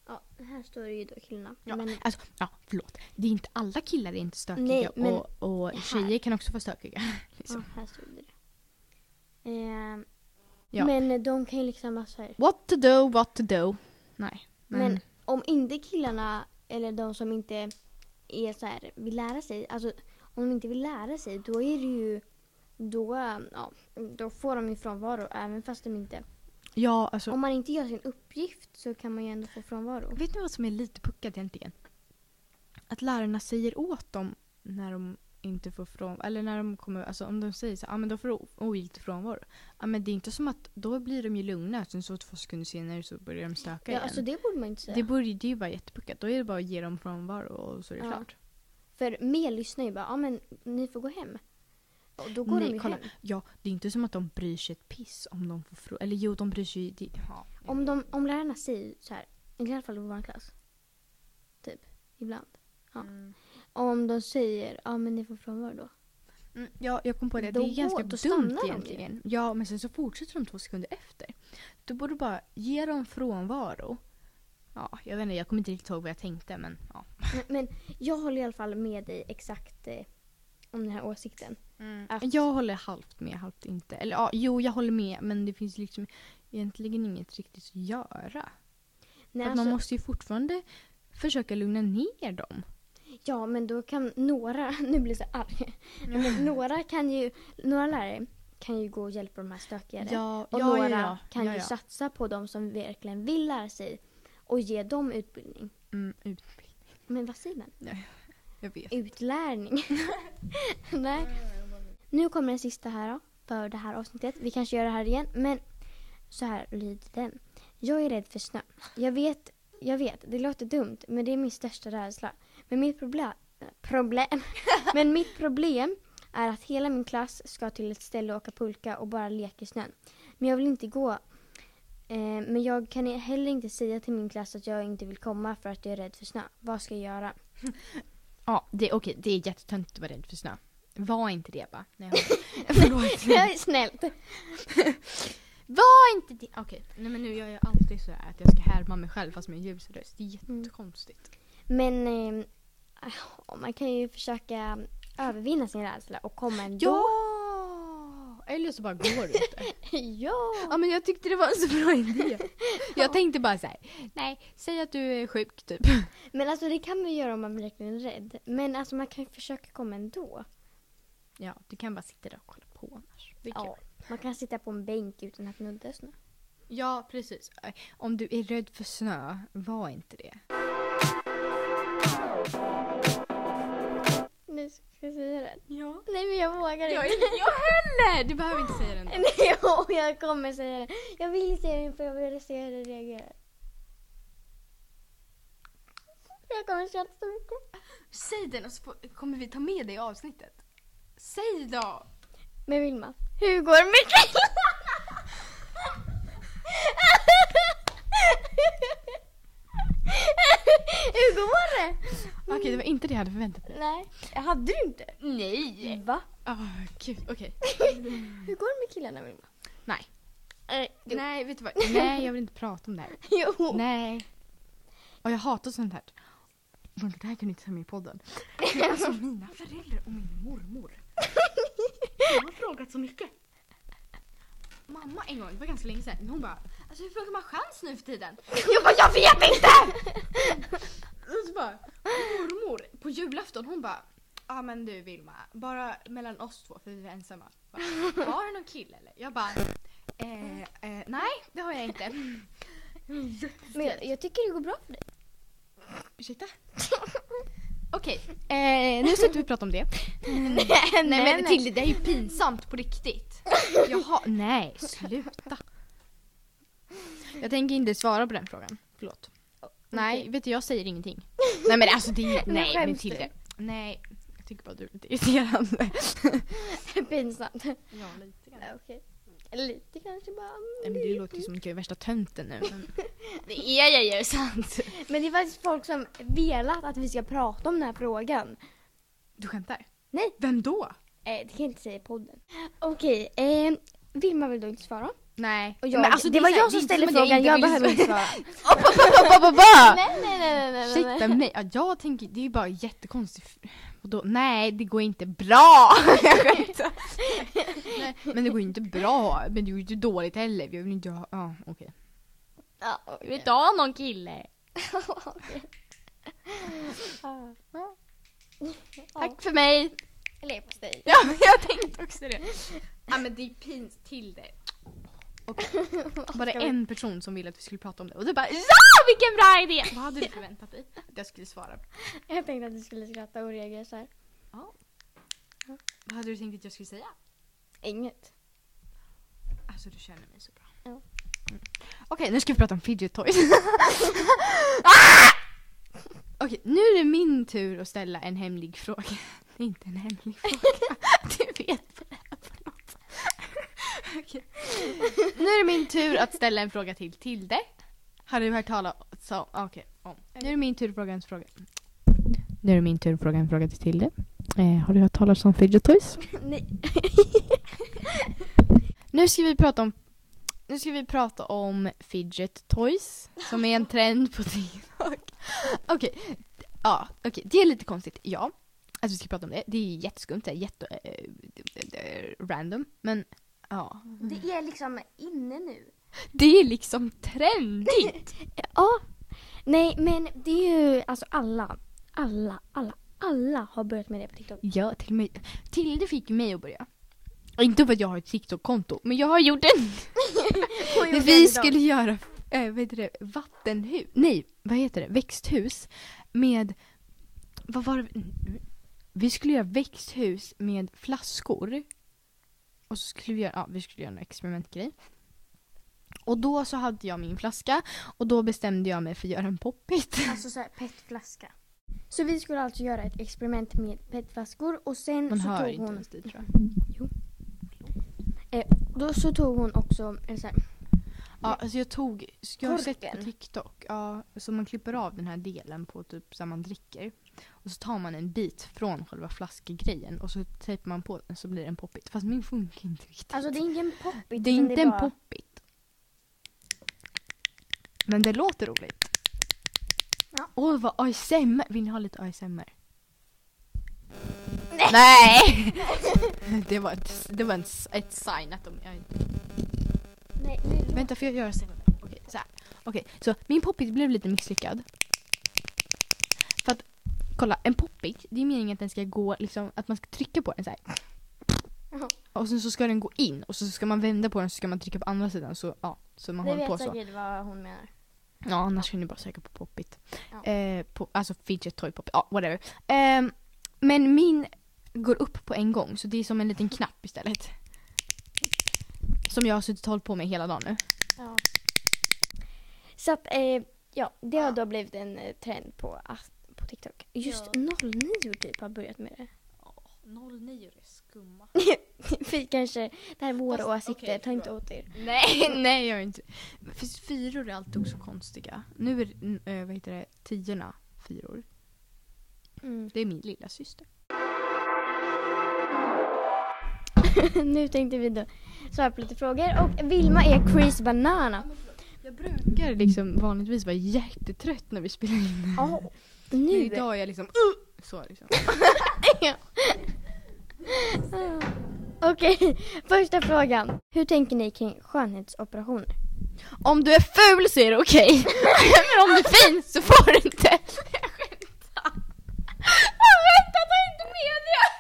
Speaker 1: Ja, här står det ju då killarna.
Speaker 2: Ja,
Speaker 1: Men,
Speaker 2: alltså, ja, förlåt. Det är inte alla killar är inte stökiga
Speaker 1: Nej, men-
Speaker 2: och, och
Speaker 1: Det här-
Speaker 2: tjejer kan också vara stökiga.
Speaker 1: ja,
Speaker 2: Liksom.
Speaker 1: här stod det. Ehm,
Speaker 2: Ja. Mm.
Speaker 1: Men de kan ju liksom, alltså här,
Speaker 2: What to do, what to do. Nej. Men,
Speaker 1: Men om inte killarna eller de som inte är så här, vill lära sig, alltså om de inte vill lära sig då är det ju, då, ja, då får de ju frånvaro även fast de inte.
Speaker 2: ja, alltså,
Speaker 1: Om man inte gör sin uppgift så kan man ju ändå få frånvaro.
Speaker 2: Vet ni vad som är lite puckat egentligen? Att lärarna säger åt dem när de inte får från... Eller när de kommer... Alltså om de säger så ja ah, men då får du o- ogiltig frånvaro. Ja men det är inte som att då blir de ju lugna sen så två sekunder senare så börjar de stöka
Speaker 1: Ja,
Speaker 2: igen.
Speaker 1: alltså det borde man inte säga.
Speaker 2: det, borde, det är ju bara jättepuckat. Då är det bara att ge dem frånvaro och så är det
Speaker 1: Ja.
Speaker 2: klart.
Speaker 1: För mer lyssnar ju bara, ja men ni får gå hem. Och då går
Speaker 2: Nej,
Speaker 1: de ju
Speaker 2: kolla.
Speaker 1: hem.
Speaker 2: Ja, det är inte som att de bryr sig ett piss om de får från... Eller jo, de bryr sig ju... det- Ja.
Speaker 1: Om, de, om lärarna säger så här, i alla fall i vår klass, typ, ibland. ja.
Speaker 2: Mm.
Speaker 1: Om de säger, ja men ni får frånvaro då.
Speaker 2: Mm, ja, jag kom på det.
Speaker 1: Då
Speaker 2: det är
Speaker 1: går-
Speaker 2: ganska
Speaker 1: då stannar
Speaker 2: dumt
Speaker 1: de ju.
Speaker 2: egentligen. Ja, men sen så fortsätter de två sekunder efter. Du borde bara ge dem frånvaro. Ja, jag vet inte, jag kommer inte riktigt ihåg vad jag tänkte men ja.
Speaker 1: Men, men jag håller i alla fall med dig exakt eh, om den här åsikten.
Speaker 3: Mm. Alltså,
Speaker 1: Att-
Speaker 2: Jag håller halvt med, halvt inte. Eller ja, jo jag håller med men det finns liksom egentligen inget riktigt att göra.
Speaker 1: Nej,
Speaker 2: För att
Speaker 1: alltså,
Speaker 2: Man måste ju fortfarande försöka lugna ner dem.
Speaker 1: Ja, men då kan några, *laughs* nu blir jag så arg.
Speaker 2: *laughs*
Speaker 1: Men några, kan ju, några lärare kan ju gå och hjälpa de här stökigare. och några kan
Speaker 2: ja,
Speaker 1: ju
Speaker 2: ja.
Speaker 1: satsa på de som verkligen vill lära sig och ge dem utbildning.
Speaker 2: Mm, utbildning.
Speaker 1: Men vad säger man?
Speaker 2: Jag vet.
Speaker 1: Utlärning. *laughs* Nej. Nu kommer den sista här då, för det här avsnittet. Vi kanske gör det här igen, men så här lyder den. Jag är rädd för snö. Jag vet, jag vet, det låter dumt, men det är min största rädsla. Men mitt problem... Problem? *laughs* men mitt problem är att hela min klass ska till ett ställe och åka pulka och bara leka i snön. Men jag vill inte gå. Eh, men jag kan heller inte säga till min klass att jag inte vill komma för att jag är rädd för snö. Vad ska jag göra? *laughs*
Speaker 2: Ja, det, okej, det är jättetöntigt att vara rädd för snö. Var inte det bara. Nej,
Speaker 1: *laughs*
Speaker 2: jag håller- Förlåt.
Speaker 1: Snällt.
Speaker 2: Var inte det! Okej, nej men nu gör jag alltid så här att jag ska härma mig själv fast med en ljus röst. Det är jättekonstigt.
Speaker 1: Men eh, ah, man kan ju försöka övervinna sin rädsla och komma ändå.
Speaker 2: Ja! Eller så bara går du inte.
Speaker 1: *laughs* ja!
Speaker 2: *laughs* ja men jag tyckte det var en så bra *laughs* idé. Jag tänkte bara så här. nej, säg att du är sjuk typ.
Speaker 1: Men alltså det kan man ju göra om man verkligen är rädd. Men alltså man kan ju försöka komma ändå.
Speaker 2: Ja, du kan bara sitta där och kolla på annars. Det är kul.
Speaker 1: Ja. Man kan sitta på en bänk utan att nudda snö.
Speaker 2: Ja, precis. Om du är rädd för snö, var inte det.
Speaker 1: Nu ska jag säga det.
Speaker 2: Ja.
Speaker 1: Nej men jag vågar
Speaker 2: Jag,
Speaker 1: inte.
Speaker 2: jag heller! Du behöver inte säga det ändå.
Speaker 1: *laughs* Nej jo, jag kommer säga det. Jag vill säga det för jag vill se hur du reagerar. Jag kommer skratta så mycket.
Speaker 2: Säg den och så får- kommer vi ta med det i avsnittet. Säg då!
Speaker 1: Men Vilma, hur går det med Hur går det?
Speaker 2: Okej, det var inte det jag hade förväntat mig.
Speaker 1: Nej, jag hade du inte.
Speaker 2: Nej!
Speaker 1: Va?
Speaker 2: Oh, gud, okej.
Speaker 1: Hur går det med killarna Vilma?
Speaker 2: Nej.
Speaker 1: Eh, jo.
Speaker 2: Nej, vet du vad? Nej, jag vill inte prata om det här.
Speaker 1: Jo.
Speaker 2: Nej. Och jag hatar sånt här. Men det här kan du inte säga med i podden. Men Alltså mina föräldrar och min mormor. De har frågat så mycket. Mamma en gång, det var ganska länge sedan, hon bara Alltså hur frågar man chans nu för tiden?
Speaker 1: Jag bara, jag vet inte!
Speaker 2: Och så bara, mormor på julafton hon bara Ja men du Vilma, bara mellan oss två för vi var ensamma. Bara, har du någon kille eller? Jag bara eh, eh, Nej det har jag inte.
Speaker 1: Men jag, jag tycker det går bra för dig.
Speaker 2: Ursäkta? *laughs* Okej, eh, nu ska inte vi prata om det.
Speaker 1: Nej,
Speaker 2: *laughs* Nej men Tilde det är ju pinsamt på riktigt. *laughs* Jaha, nej sluta. Jag tänker inte svara på den frågan. Förlåt. Nej, vet du jag säger ingenting. *laughs* Nej men alltså det är
Speaker 1: Nu
Speaker 2: Nej men
Speaker 1: skäms du.
Speaker 2: Tilde. Nej. Jag tycker bara du är lite irriterande.
Speaker 1: Pinsamt.
Speaker 2: Ja lite grann.
Speaker 1: Ja, Okej. Lite kanske bara.
Speaker 2: Nej, men det låter ju som att jag är värsta tönten nu. Men... Det är jag ju, sant.
Speaker 1: Men det är faktiskt folk som velat att vi ska prata om den här frågan.
Speaker 2: Du skämtar?
Speaker 1: Nej.
Speaker 2: Vem då?
Speaker 1: Eh, det kan jag inte säga i podden. Okej, eh, Vilma vill då inte svara.
Speaker 2: Nej.
Speaker 1: Och jag-
Speaker 2: Men
Speaker 1: det
Speaker 2: är
Speaker 1: var
Speaker 2: så här,
Speaker 1: jag som
Speaker 2: det är inte
Speaker 1: ställde
Speaker 2: som att
Speaker 1: frågan, jag
Speaker 2: inte vill
Speaker 1: behöver
Speaker 2: svara. *laughs* Ba, ba, ba.
Speaker 1: Nej, nej, nej, nej, nej.
Speaker 2: Shit,
Speaker 1: nej.
Speaker 2: men mig. Ja, jag tänker, det är ju bara jättekonstigt. Vadå? Nej, det går inte bra! *laughs* Jag skämtar. Nej, men det går ju inte bra. Men det går ju inte dåligt heller. Jag vill inte ha... Ja, okej.
Speaker 1: Ja,
Speaker 3: Vill du inte ha någon kille?
Speaker 1: Ah.
Speaker 3: Tack för mig! Leverpastej.
Speaker 2: Ja, men jag tänkte också det.
Speaker 3: Ja men det är pins till det.
Speaker 2: *laughs* Bara en person som ville att vi skulle prata om det. Och du bara ja!
Speaker 3: Ja Ah, vilken bra
Speaker 2: *laughs*
Speaker 3: idé!
Speaker 2: Vad hade du förväntat dig att jag skulle svara?
Speaker 1: Jag tänkte att du skulle skratta och reagera så här.
Speaker 2: Vad hade du tänkt att jag skulle säga?
Speaker 1: Inget.
Speaker 2: Alltså du känner mig så bra.
Speaker 1: Ja.
Speaker 2: Mm. Okej, nu ska vi prata om fidget toys. ah! Okej, nu är det min tur att ställa en hemlig fråga. Det är inte en hemlig fråga. du vet vad det är för något. Okej. Nu är det min tur att ställa en fråga till Tilde. Har du hört talas om? ah, Okej, om. Nu är det min tur att fråga en fråga. Nu är det min tur att fråga en fråga till Tilde. Eh, har du hört talas om fidget toys?
Speaker 1: Nej.
Speaker 2: Nu ska vi prata om nu ska vi prata om fidget toys som är en trend på TikTok. Okej, ja, okej, det är lite konstigt, ja. Alltså vi ska prata om det, det är jätteskumt, det är jätte... eh, eh, eh, random, men ja.
Speaker 1: Det är liksom inne nu.
Speaker 2: Det är liksom trendigt!
Speaker 1: Ja. Nej, men det är ju alltså alla. Alla, alla, alla har börjat med det på TikTok.
Speaker 2: ja, till och med Tilde fick mig att börja. Inte för att jag har ett TikTok-konto, men jag har gjort en Men vi skulle göra äh, vad heter det, vattenhus, nej vad heter det, växthus med, vad var det, vi skulle göra växthus med flaskor. Och så skulle vi göra, ja vi skulle göra en experimentgrej. Och då så hade jag min flaska och då bestämde jag mig för att göra en poppit.
Speaker 1: Alltså så här petflaska. Så vi skulle alltså göra ett experiment med petflaskor och sen
Speaker 2: Man
Speaker 1: så
Speaker 2: hör
Speaker 1: tog
Speaker 2: inte
Speaker 1: hon,
Speaker 2: ens dit tror jag.
Speaker 1: då så tog hon också en så här,
Speaker 2: Ja, alltså jag tog, jag har sett på
Speaker 1: Korken.
Speaker 2: TikTok, ja, så man klipper av den här delen på typ så här man dricker. Och så tar man en bit från själva flaskegrejen och så tejpar man på den så blir det en poppit. Fast min funkar inte riktigt.
Speaker 1: alltså det är ingen poppit.
Speaker 2: det är
Speaker 1: utan
Speaker 2: inte en
Speaker 1: bara-
Speaker 2: poppit. Men det låter roligt.
Speaker 1: Ja.
Speaker 2: Åh vad ASMR, vill ni ha lite ASMR?
Speaker 1: Nej.
Speaker 2: Nej! *laughs* det var, ett, det var en, s- ett sign att de, jag
Speaker 1: Nej, nej, låt-
Speaker 2: Vänta, får jag göra så här? Okej, så här. Okej, så min poppit blev lite misslyckad. För att, kolla, en poppit, det är meningen att den ska gå, liksom, att man ska trycka på den så här.
Speaker 1: Jaha.
Speaker 2: Och sen så ska den gå in och så ska man vända på den så ska man trycka på andra sidan så, ja, så man
Speaker 1: Vi
Speaker 2: håller
Speaker 1: vet
Speaker 2: på så.
Speaker 1: säkert vad hon menar.
Speaker 2: Ja, annars kan ni bara söka på poppit.
Speaker 1: Ja.
Speaker 2: Eh, på, alltså fidget toy poppit, ja whatever. Ehm, men min går upp på en gång så det är som en liten knapp istället. Som jag har suttit och hållit på med hela dagen nu.
Speaker 1: Så att, eh, ja, det har då blivit en eh, trend på, att- på TikTok. Just 09 typ har börjat med det.
Speaker 3: 09 är skumma.
Speaker 1: *laughs* Vi kanske, det här är våra
Speaker 3: Fast,
Speaker 1: åsikter,
Speaker 3: okej,
Speaker 1: ta inte åt er.
Speaker 2: Nej, *laughs* nej jag är inte. För fyror är alltid också konstiga. Nu är eh, vad heter det, tiorna fyror.
Speaker 1: Mm. *laughs*
Speaker 2: Det är min lilla syster.
Speaker 1: nu tänkte vi då svara på lite frågor och Vilma är Chris Banana.
Speaker 2: Jag brukar liksom vanligtvis vara jättetrött när vi spelar in.
Speaker 1: Ja,
Speaker 2: Men
Speaker 1: nu.
Speaker 2: idag är jag liksom uh, så liksom.
Speaker 1: Okej, *laughs* första frågan. Hur tänker ni kring skönhetsoperationer?
Speaker 2: Om du är ful så är det okej. *laughs* Men om du är fin så får du inte. Jag skämtar. Jag skämtar, ta inte med
Speaker 3: *laughs*
Speaker 2: det.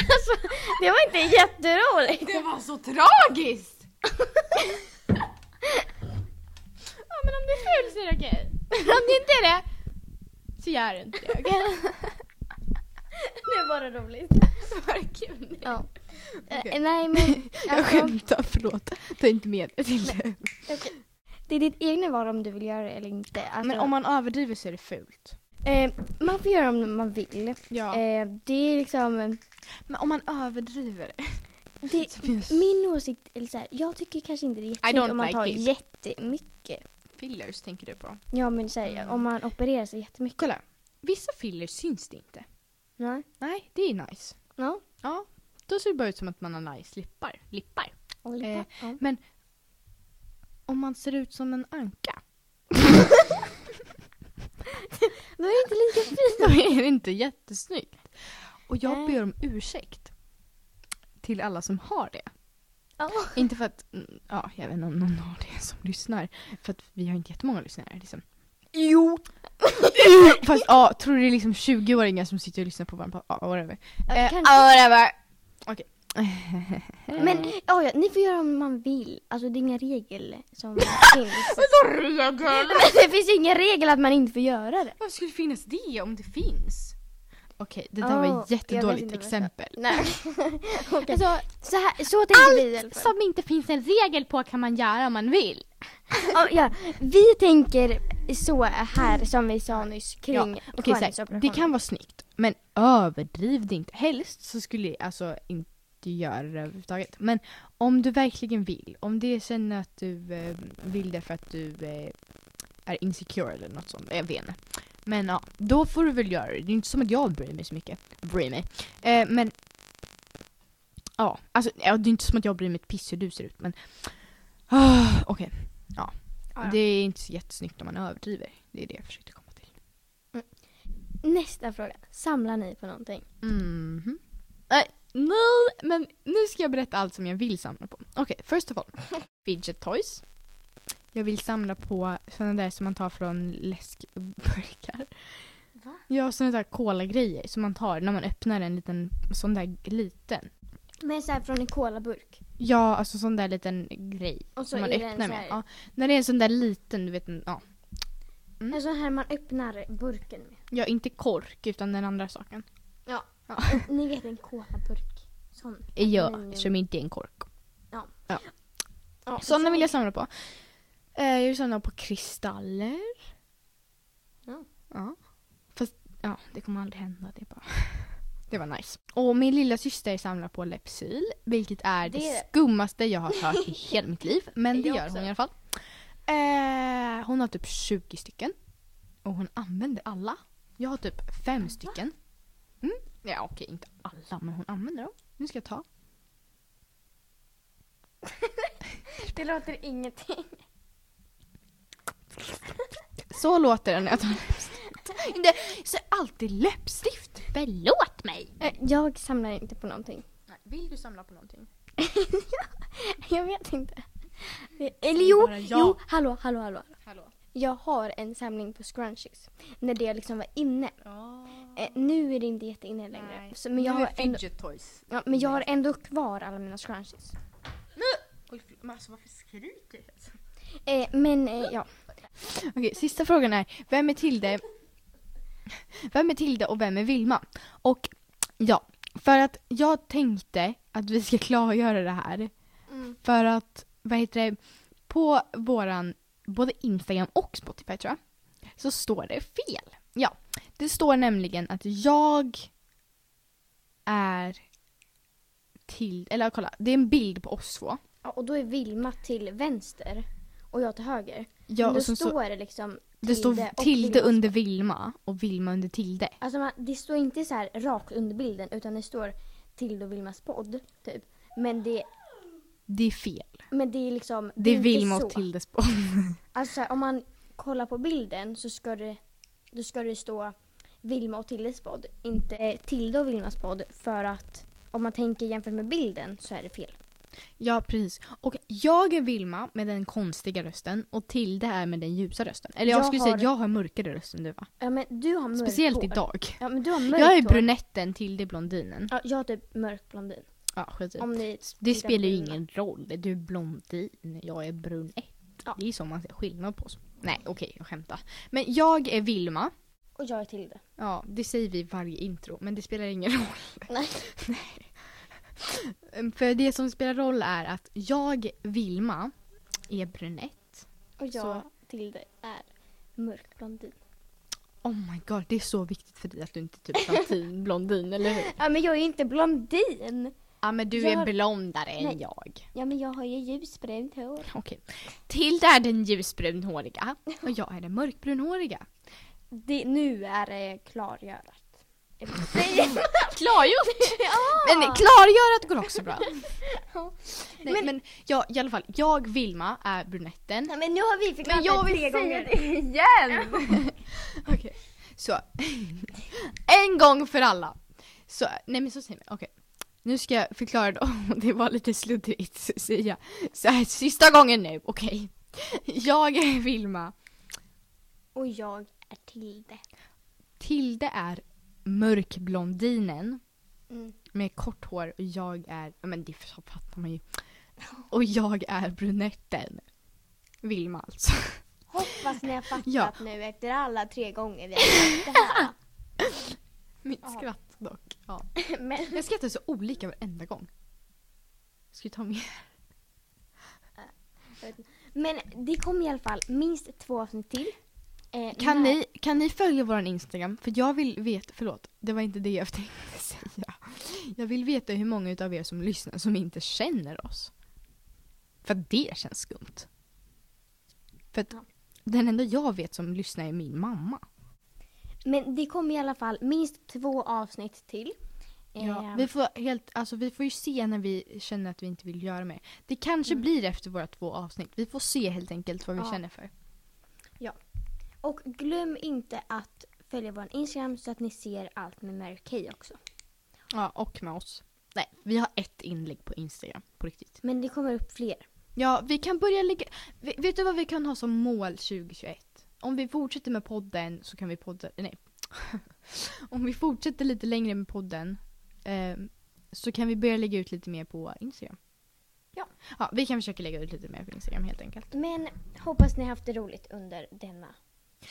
Speaker 1: Alltså, det var inte jätteroligt.
Speaker 2: Det var så tragiskt.
Speaker 3: Ja men om du är ful så är det okej.
Speaker 2: *laughs* Om det inte är det så gör du inte
Speaker 1: *laughs*
Speaker 2: *laughs* det. okej?
Speaker 1: Det var bara roligt.
Speaker 3: Vad kul.
Speaker 1: Ja. Eh,
Speaker 2: Okej.
Speaker 1: nej men,
Speaker 2: Jag
Speaker 1: alltså,
Speaker 2: skämtar, förlåt. Ta inte med det till det.
Speaker 1: det är ditt egna val om du vill göra det eller inte. Alltså,
Speaker 2: Men om man överdriver så är det fult.
Speaker 1: eh, man får göra om man vill.
Speaker 2: Ja.
Speaker 1: Eh, det är liksom,
Speaker 2: Men om man överdriver det.
Speaker 1: det,
Speaker 2: Så finns
Speaker 1: min åsikt, eller så här, jag tycker kanske inte det är
Speaker 2: don't
Speaker 1: jättefint om man
Speaker 2: like
Speaker 1: tar
Speaker 2: it.
Speaker 1: jättemycket.
Speaker 2: fillers tänker du på.
Speaker 1: Ja men så här, om man opererar sig jättemycket.
Speaker 2: Kolla, vissa fillers syns det inte.
Speaker 1: Nej.
Speaker 2: Nej, det är nice.
Speaker 1: Ja.
Speaker 2: Ja, Då ser det bara ut som att man har nice lippar. lippar.
Speaker 1: Och lite,
Speaker 2: Eh,
Speaker 1: ja.
Speaker 2: Om man ser ut som en anka.
Speaker 1: Då är det inte lika fint.
Speaker 2: *laughs* Då är det inte jättesnyggt. Och jag
Speaker 1: Nej.
Speaker 2: ber om ursäkt. Till alla som har det.
Speaker 1: Ja.
Speaker 2: Inte för att, mm, ja jag vet inte om någon har det som lyssnar. För att vi har inte jättemånga lyssnare liksom.
Speaker 1: Jo.
Speaker 2: *laughs* Fast ja, tror du det är liksom 20-åringar som sitter och lyssnar på varandra? Ja, whatever. Eh, *laughs*
Speaker 1: kanske.
Speaker 2: whatever. Okej.
Speaker 1: Men ja, ja, ni får göra om man vill. Alltså det är ingen regel
Speaker 2: *laughs*
Speaker 1: som finns.
Speaker 3: regel?
Speaker 1: Men det finns ju ingen regel att man inte får göra det.
Speaker 3: Varför skulle det finnas det om det finns?
Speaker 2: Okej, det där
Speaker 1: Ja,
Speaker 2: var ett
Speaker 1: jag vet
Speaker 2: jättedåligt
Speaker 1: inte vad jag ska-
Speaker 2: exempel.
Speaker 1: Nej. Okej.
Speaker 2: Alltså,
Speaker 1: Så, här, så tänker vi i alla fall.
Speaker 2: som inte finns en regel på kan man göra om man vill.
Speaker 1: Ja, ja. Vi tänker så här som vi sa nyss kring
Speaker 2: Ja, Okej, så här,
Speaker 1: skönhetsoperationer.
Speaker 2: det kan vara snyggt, men överdriv det inte. Helst så skulle jag alltså inte göra det överhuvudtaget. Men om du verkligen vill, om det känner att du eh, vill det för att du eh, är insecure eller något sånt, jag vet inte. Men ja, då får du väl göra det. Det är inte som att jag bryr mig så mycket. Bryr mig. Eh, men ja, alltså ja, det är inte som att jag bryr mig ett piss hur du ser ut, men ah, okej. Ja.
Speaker 1: Ja, ja.
Speaker 2: Det är inte så jättesnyggt om man överdriver. Det är det jag försökte komma till.
Speaker 1: Nästa fråga. Samlar ni på någonting?
Speaker 2: Mhm. Nej, nej, men nu ska jag berätta allt som jag vill samla på. Okej, first of all.
Speaker 1: *laughs*
Speaker 2: Fidget toys. Jag vill samla på sådana där som man tar från läskburkar.
Speaker 3: Va?
Speaker 2: Ja, sådana där kolagrejer som man tar när man öppnar en liten sån där liten.
Speaker 1: Men så här från en colaburk.
Speaker 2: Ja, alltså sån där liten grej
Speaker 1: Och så
Speaker 2: som man
Speaker 1: är det en
Speaker 2: öppnar
Speaker 1: så
Speaker 2: med.
Speaker 1: här,
Speaker 2: Ja, när det är en sån där liten, du vet, en- ja.
Speaker 1: en sån Alltså här man öppnar burken med.
Speaker 2: ja, inte kork utan den andra saken.
Speaker 1: Ni vet en colaburk. Sån.
Speaker 2: Ja,
Speaker 1: Mm.
Speaker 2: som inte är en kork.
Speaker 1: Ja,
Speaker 2: Sådana vill jag samla på. Eh, jag vill samla på kristaller.
Speaker 1: Ja.
Speaker 2: Ja. Fast ja, det kommer aldrig hända. Det, är bara... *laughs* det var nice.
Speaker 1: Mm.
Speaker 2: Och min lilla syster samlar på Lepsyl, vilket är det,
Speaker 1: Det-
Speaker 2: skummaste jag
Speaker 1: *laughs*
Speaker 2: har hört i hela mitt liv. Men det
Speaker 3: Jag
Speaker 2: gör
Speaker 3: också.
Speaker 2: hon i alla fall. Eh, hon har typ 20 stycken. Och hon använder alla. Jag har typ fem stycken. Mm. Ja, okej, inte alla, men hon använder dem. Nu ska jag ta.
Speaker 1: Det låter ingenting.
Speaker 2: Så låter det när jag tar läppstift. Det, så alltid läppstift. Förlåt mig.
Speaker 1: Eh, Jag samlar inte på någonting. *laughs*
Speaker 3: Nej, vill du samla på någonting?
Speaker 1: Jag vet inte. Det- Eller jo,
Speaker 2: bara jag.
Speaker 1: jo, hallå, hallå, hallå.
Speaker 3: Hallå?
Speaker 1: Jag har en samling på scrunchies. När det liksom var inne.
Speaker 3: Ja.
Speaker 1: Eh, nu är det inte jätteinne längre. Så, men, jag
Speaker 2: Nu är
Speaker 1: har ändå,
Speaker 2: fidget toys.
Speaker 1: ja, men jag har ändå kvar alla mina scrunchies.
Speaker 3: Oj, förlåt. men alltså varför skriker du? Alltså?
Speaker 1: Eh, men eh, ja.
Speaker 2: Okej, sista frågan är. Vem är Tilde? Vem är Tilde och vem är Vilma? Och ja, för att jag tänkte att vi ska *laughs* klargöra det här.
Speaker 1: Mm.
Speaker 2: För att, vad heter det, på våran, både Instagram och Spotify tror jag, så står det fel. Ja, det står nämligen att jag är till, eller kolla, det är en bild på oss två.
Speaker 1: Ja, och då är Vilma till vänster och jag till höger.
Speaker 2: Ja,
Speaker 1: men då
Speaker 2: och sen
Speaker 1: står
Speaker 2: så,
Speaker 1: det liksom
Speaker 2: det står
Speaker 1: Tilde
Speaker 2: Tilde,
Speaker 1: och Vilma.
Speaker 2: under Vilma och Vilma under Tilde.
Speaker 1: Alltså man, det står inte så här rakt under bilden utan det står Tilde och Vilmas podd. Typ. Men det,
Speaker 2: Det är fel.
Speaker 1: men det är liksom...
Speaker 2: Det är
Speaker 1: inte
Speaker 2: Vilma
Speaker 1: så.
Speaker 2: och Tildes på.
Speaker 1: Alltså så här, om man kollar på bilden så ska det, då ska det stå Vilma och Tildes podd. Inte eh, Tilde och Vilmas podd för att om man tänker jämfört med bilden så är det fel.
Speaker 2: *laughs* Ja, precis. Och jag är Vilma med den konstiga rösten och Tilde är med den ljusa rösten. Eller jag,
Speaker 1: Jag
Speaker 2: skulle säga
Speaker 1: har-
Speaker 2: att jag har mörkare röst än du va?
Speaker 1: Ja men du har mörkt
Speaker 2: Speciellt
Speaker 1: hår.
Speaker 2: idag.
Speaker 1: Ja men du har mörkt
Speaker 2: Jag är
Speaker 1: hår.
Speaker 2: brunetten, Tilde är blondinen.
Speaker 1: Ja, jag är typ mörk blondin.
Speaker 2: Ja, skit i det.
Speaker 1: Om ni
Speaker 2: Typ. Det
Speaker 1: tittar på
Speaker 2: spelar ju
Speaker 1: bilderna.
Speaker 2: ingen roll. Du är blondin, jag är brunett.
Speaker 1: Ja.
Speaker 2: Det är så man ser skillnad på oss. Nej, okej, jag skämtar. Men jag är Vilma.
Speaker 1: Och jag är Tilde.
Speaker 2: Ja, det säger vi i varje intro, men det spelar ingen *laughs* roll.
Speaker 1: Nej.
Speaker 2: Ehm, För det som spelar roll är att jag, Vilma, är brunett.
Speaker 1: *laughs* Och jag
Speaker 2: Så.
Speaker 1: Tilde är mörk blondin.
Speaker 2: Oh my god, det är så viktigt för dig att du inte är typ *laughs* blondin, blondin eller hur?
Speaker 1: Ja men jag är inte blondin!
Speaker 2: Ja, men du
Speaker 1: Jag-
Speaker 2: är blondare
Speaker 1: Nej.
Speaker 2: än jag.
Speaker 1: Ja men jag har ju ljusbrunt hår.
Speaker 2: Okej. Tilda är den ljusbrunhåriga och jag är den mörkbrunhåriga.
Speaker 1: *laughs* Det, nu är det klargörat.
Speaker 4: Klargjort!
Speaker 2: Men klargörat går också *laughs* bra.
Speaker 1: Ja.
Speaker 2: Nej, men
Speaker 1: Men-
Speaker 2: jag, i alla fall, jag Vilma är brunetten.
Speaker 1: Nej, men nu har vi förklarat
Speaker 4: Men jag
Speaker 1: det
Speaker 4: vill
Speaker 1: tre
Speaker 4: säga
Speaker 1: gånger.
Speaker 4: det igen!
Speaker 2: *laughs* Så en gång för alla. Så, nej men så säger man, okej. Nu ska jag förklara då, *laughs* det var lite sluddrigt Cecilia. Så här, sista gången nu, okej. Jag är Vilma.
Speaker 1: Och jag är Tilde.
Speaker 2: Tilde är mörkblondinen
Speaker 1: Mm.
Speaker 2: med kort hår och jag är, ja, men det fattar man ju. Och jag är brunetten. Vilma alltså.
Speaker 1: Hoppas ni har fattat
Speaker 2: Ja.
Speaker 1: nu efter alla tre gånger vi har sagt det här.
Speaker 2: Mitt
Speaker 1: Ja.
Speaker 2: skratt dock. Ja.
Speaker 1: Men,
Speaker 2: Jag skrattar så olika varenda gång. Ska vi ta med?
Speaker 1: men det kommer i alla fall minst två avsnitt till. Eh,
Speaker 2: Kan,
Speaker 1: när-
Speaker 2: ni, kan ni följa vår Instagram? För jag vill veta, förlåt, det var inte det jag tänkte *laughs* säga. Jag vill veta hur många utav er som lyssnar som inte känner oss. För att det känns skumt. För att
Speaker 1: Ja.
Speaker 2: den enda jag vet som lyssnar är min mamma.
Speaker 1: Men det kommer i alla fall minst två avsnitt till. Eh,
Speaker 2: Vi, får helt, alltså, vi får ju se när vi känner att vi inte vill göra mer. Det kanske blir efter våra två avsnitt. Vi får se helt enkelt vad vi
Speaker 1: Mm. Ja.
Speaker 2: känner för.
Speaker 1: Och glöm inte att följa vår Instagram så att ni ser allt med Mary Kay också.
Speaker 2: Ja, och med oss. Nej, vi har ett inlägg på Instagram på riktigt.
Speaker 1: Men det kommer upp fler.
Speaker 2: Ja, vi kan börja lägga... Ve- Vet du vad vi kan ha som mål 2021? Om vi fortsätter med podden så kan vi podda... Nej. *laughs* Om vi fortsätter lite längre med podden eh, så kan vi börja lägga ut lite mer på Instagram.
Speaker 1: Ja.
Speaker 2: Ja, vi kan försöka lägga ut lite mer på Instagram helt enkelt.
Speaker 1: Men hoppas ni har haft det roligt under denna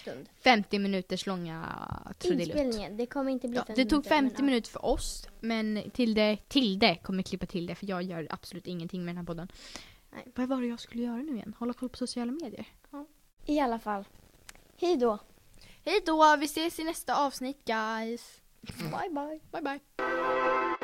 Speaker 1: stund.
Speaker 2: 50 minuters långa trudelutt.
Speaker 1: Inspelningen, det kommer inte bli
Speaker 2: Ja,
Speaker 1: 50
Speaker 2: det tog 50
Speaker 1: men,
Speaker 2: minuter för oss, men Tilde, Tilde kommer klippa till det för jag gör absolut ingenting med den här podden.
Speaker 1: Nej.
Speaker 2: Vad var det jag skulle göra nu igen? Hålla koll på sociala medier?
Speaker 1: ja. I alla fall. Hej då.
Speaker 2: Hej då, vi ses i nästa avsnitt guys!
Speaker 1: Bye bye.
Speaker 2: Bye bye!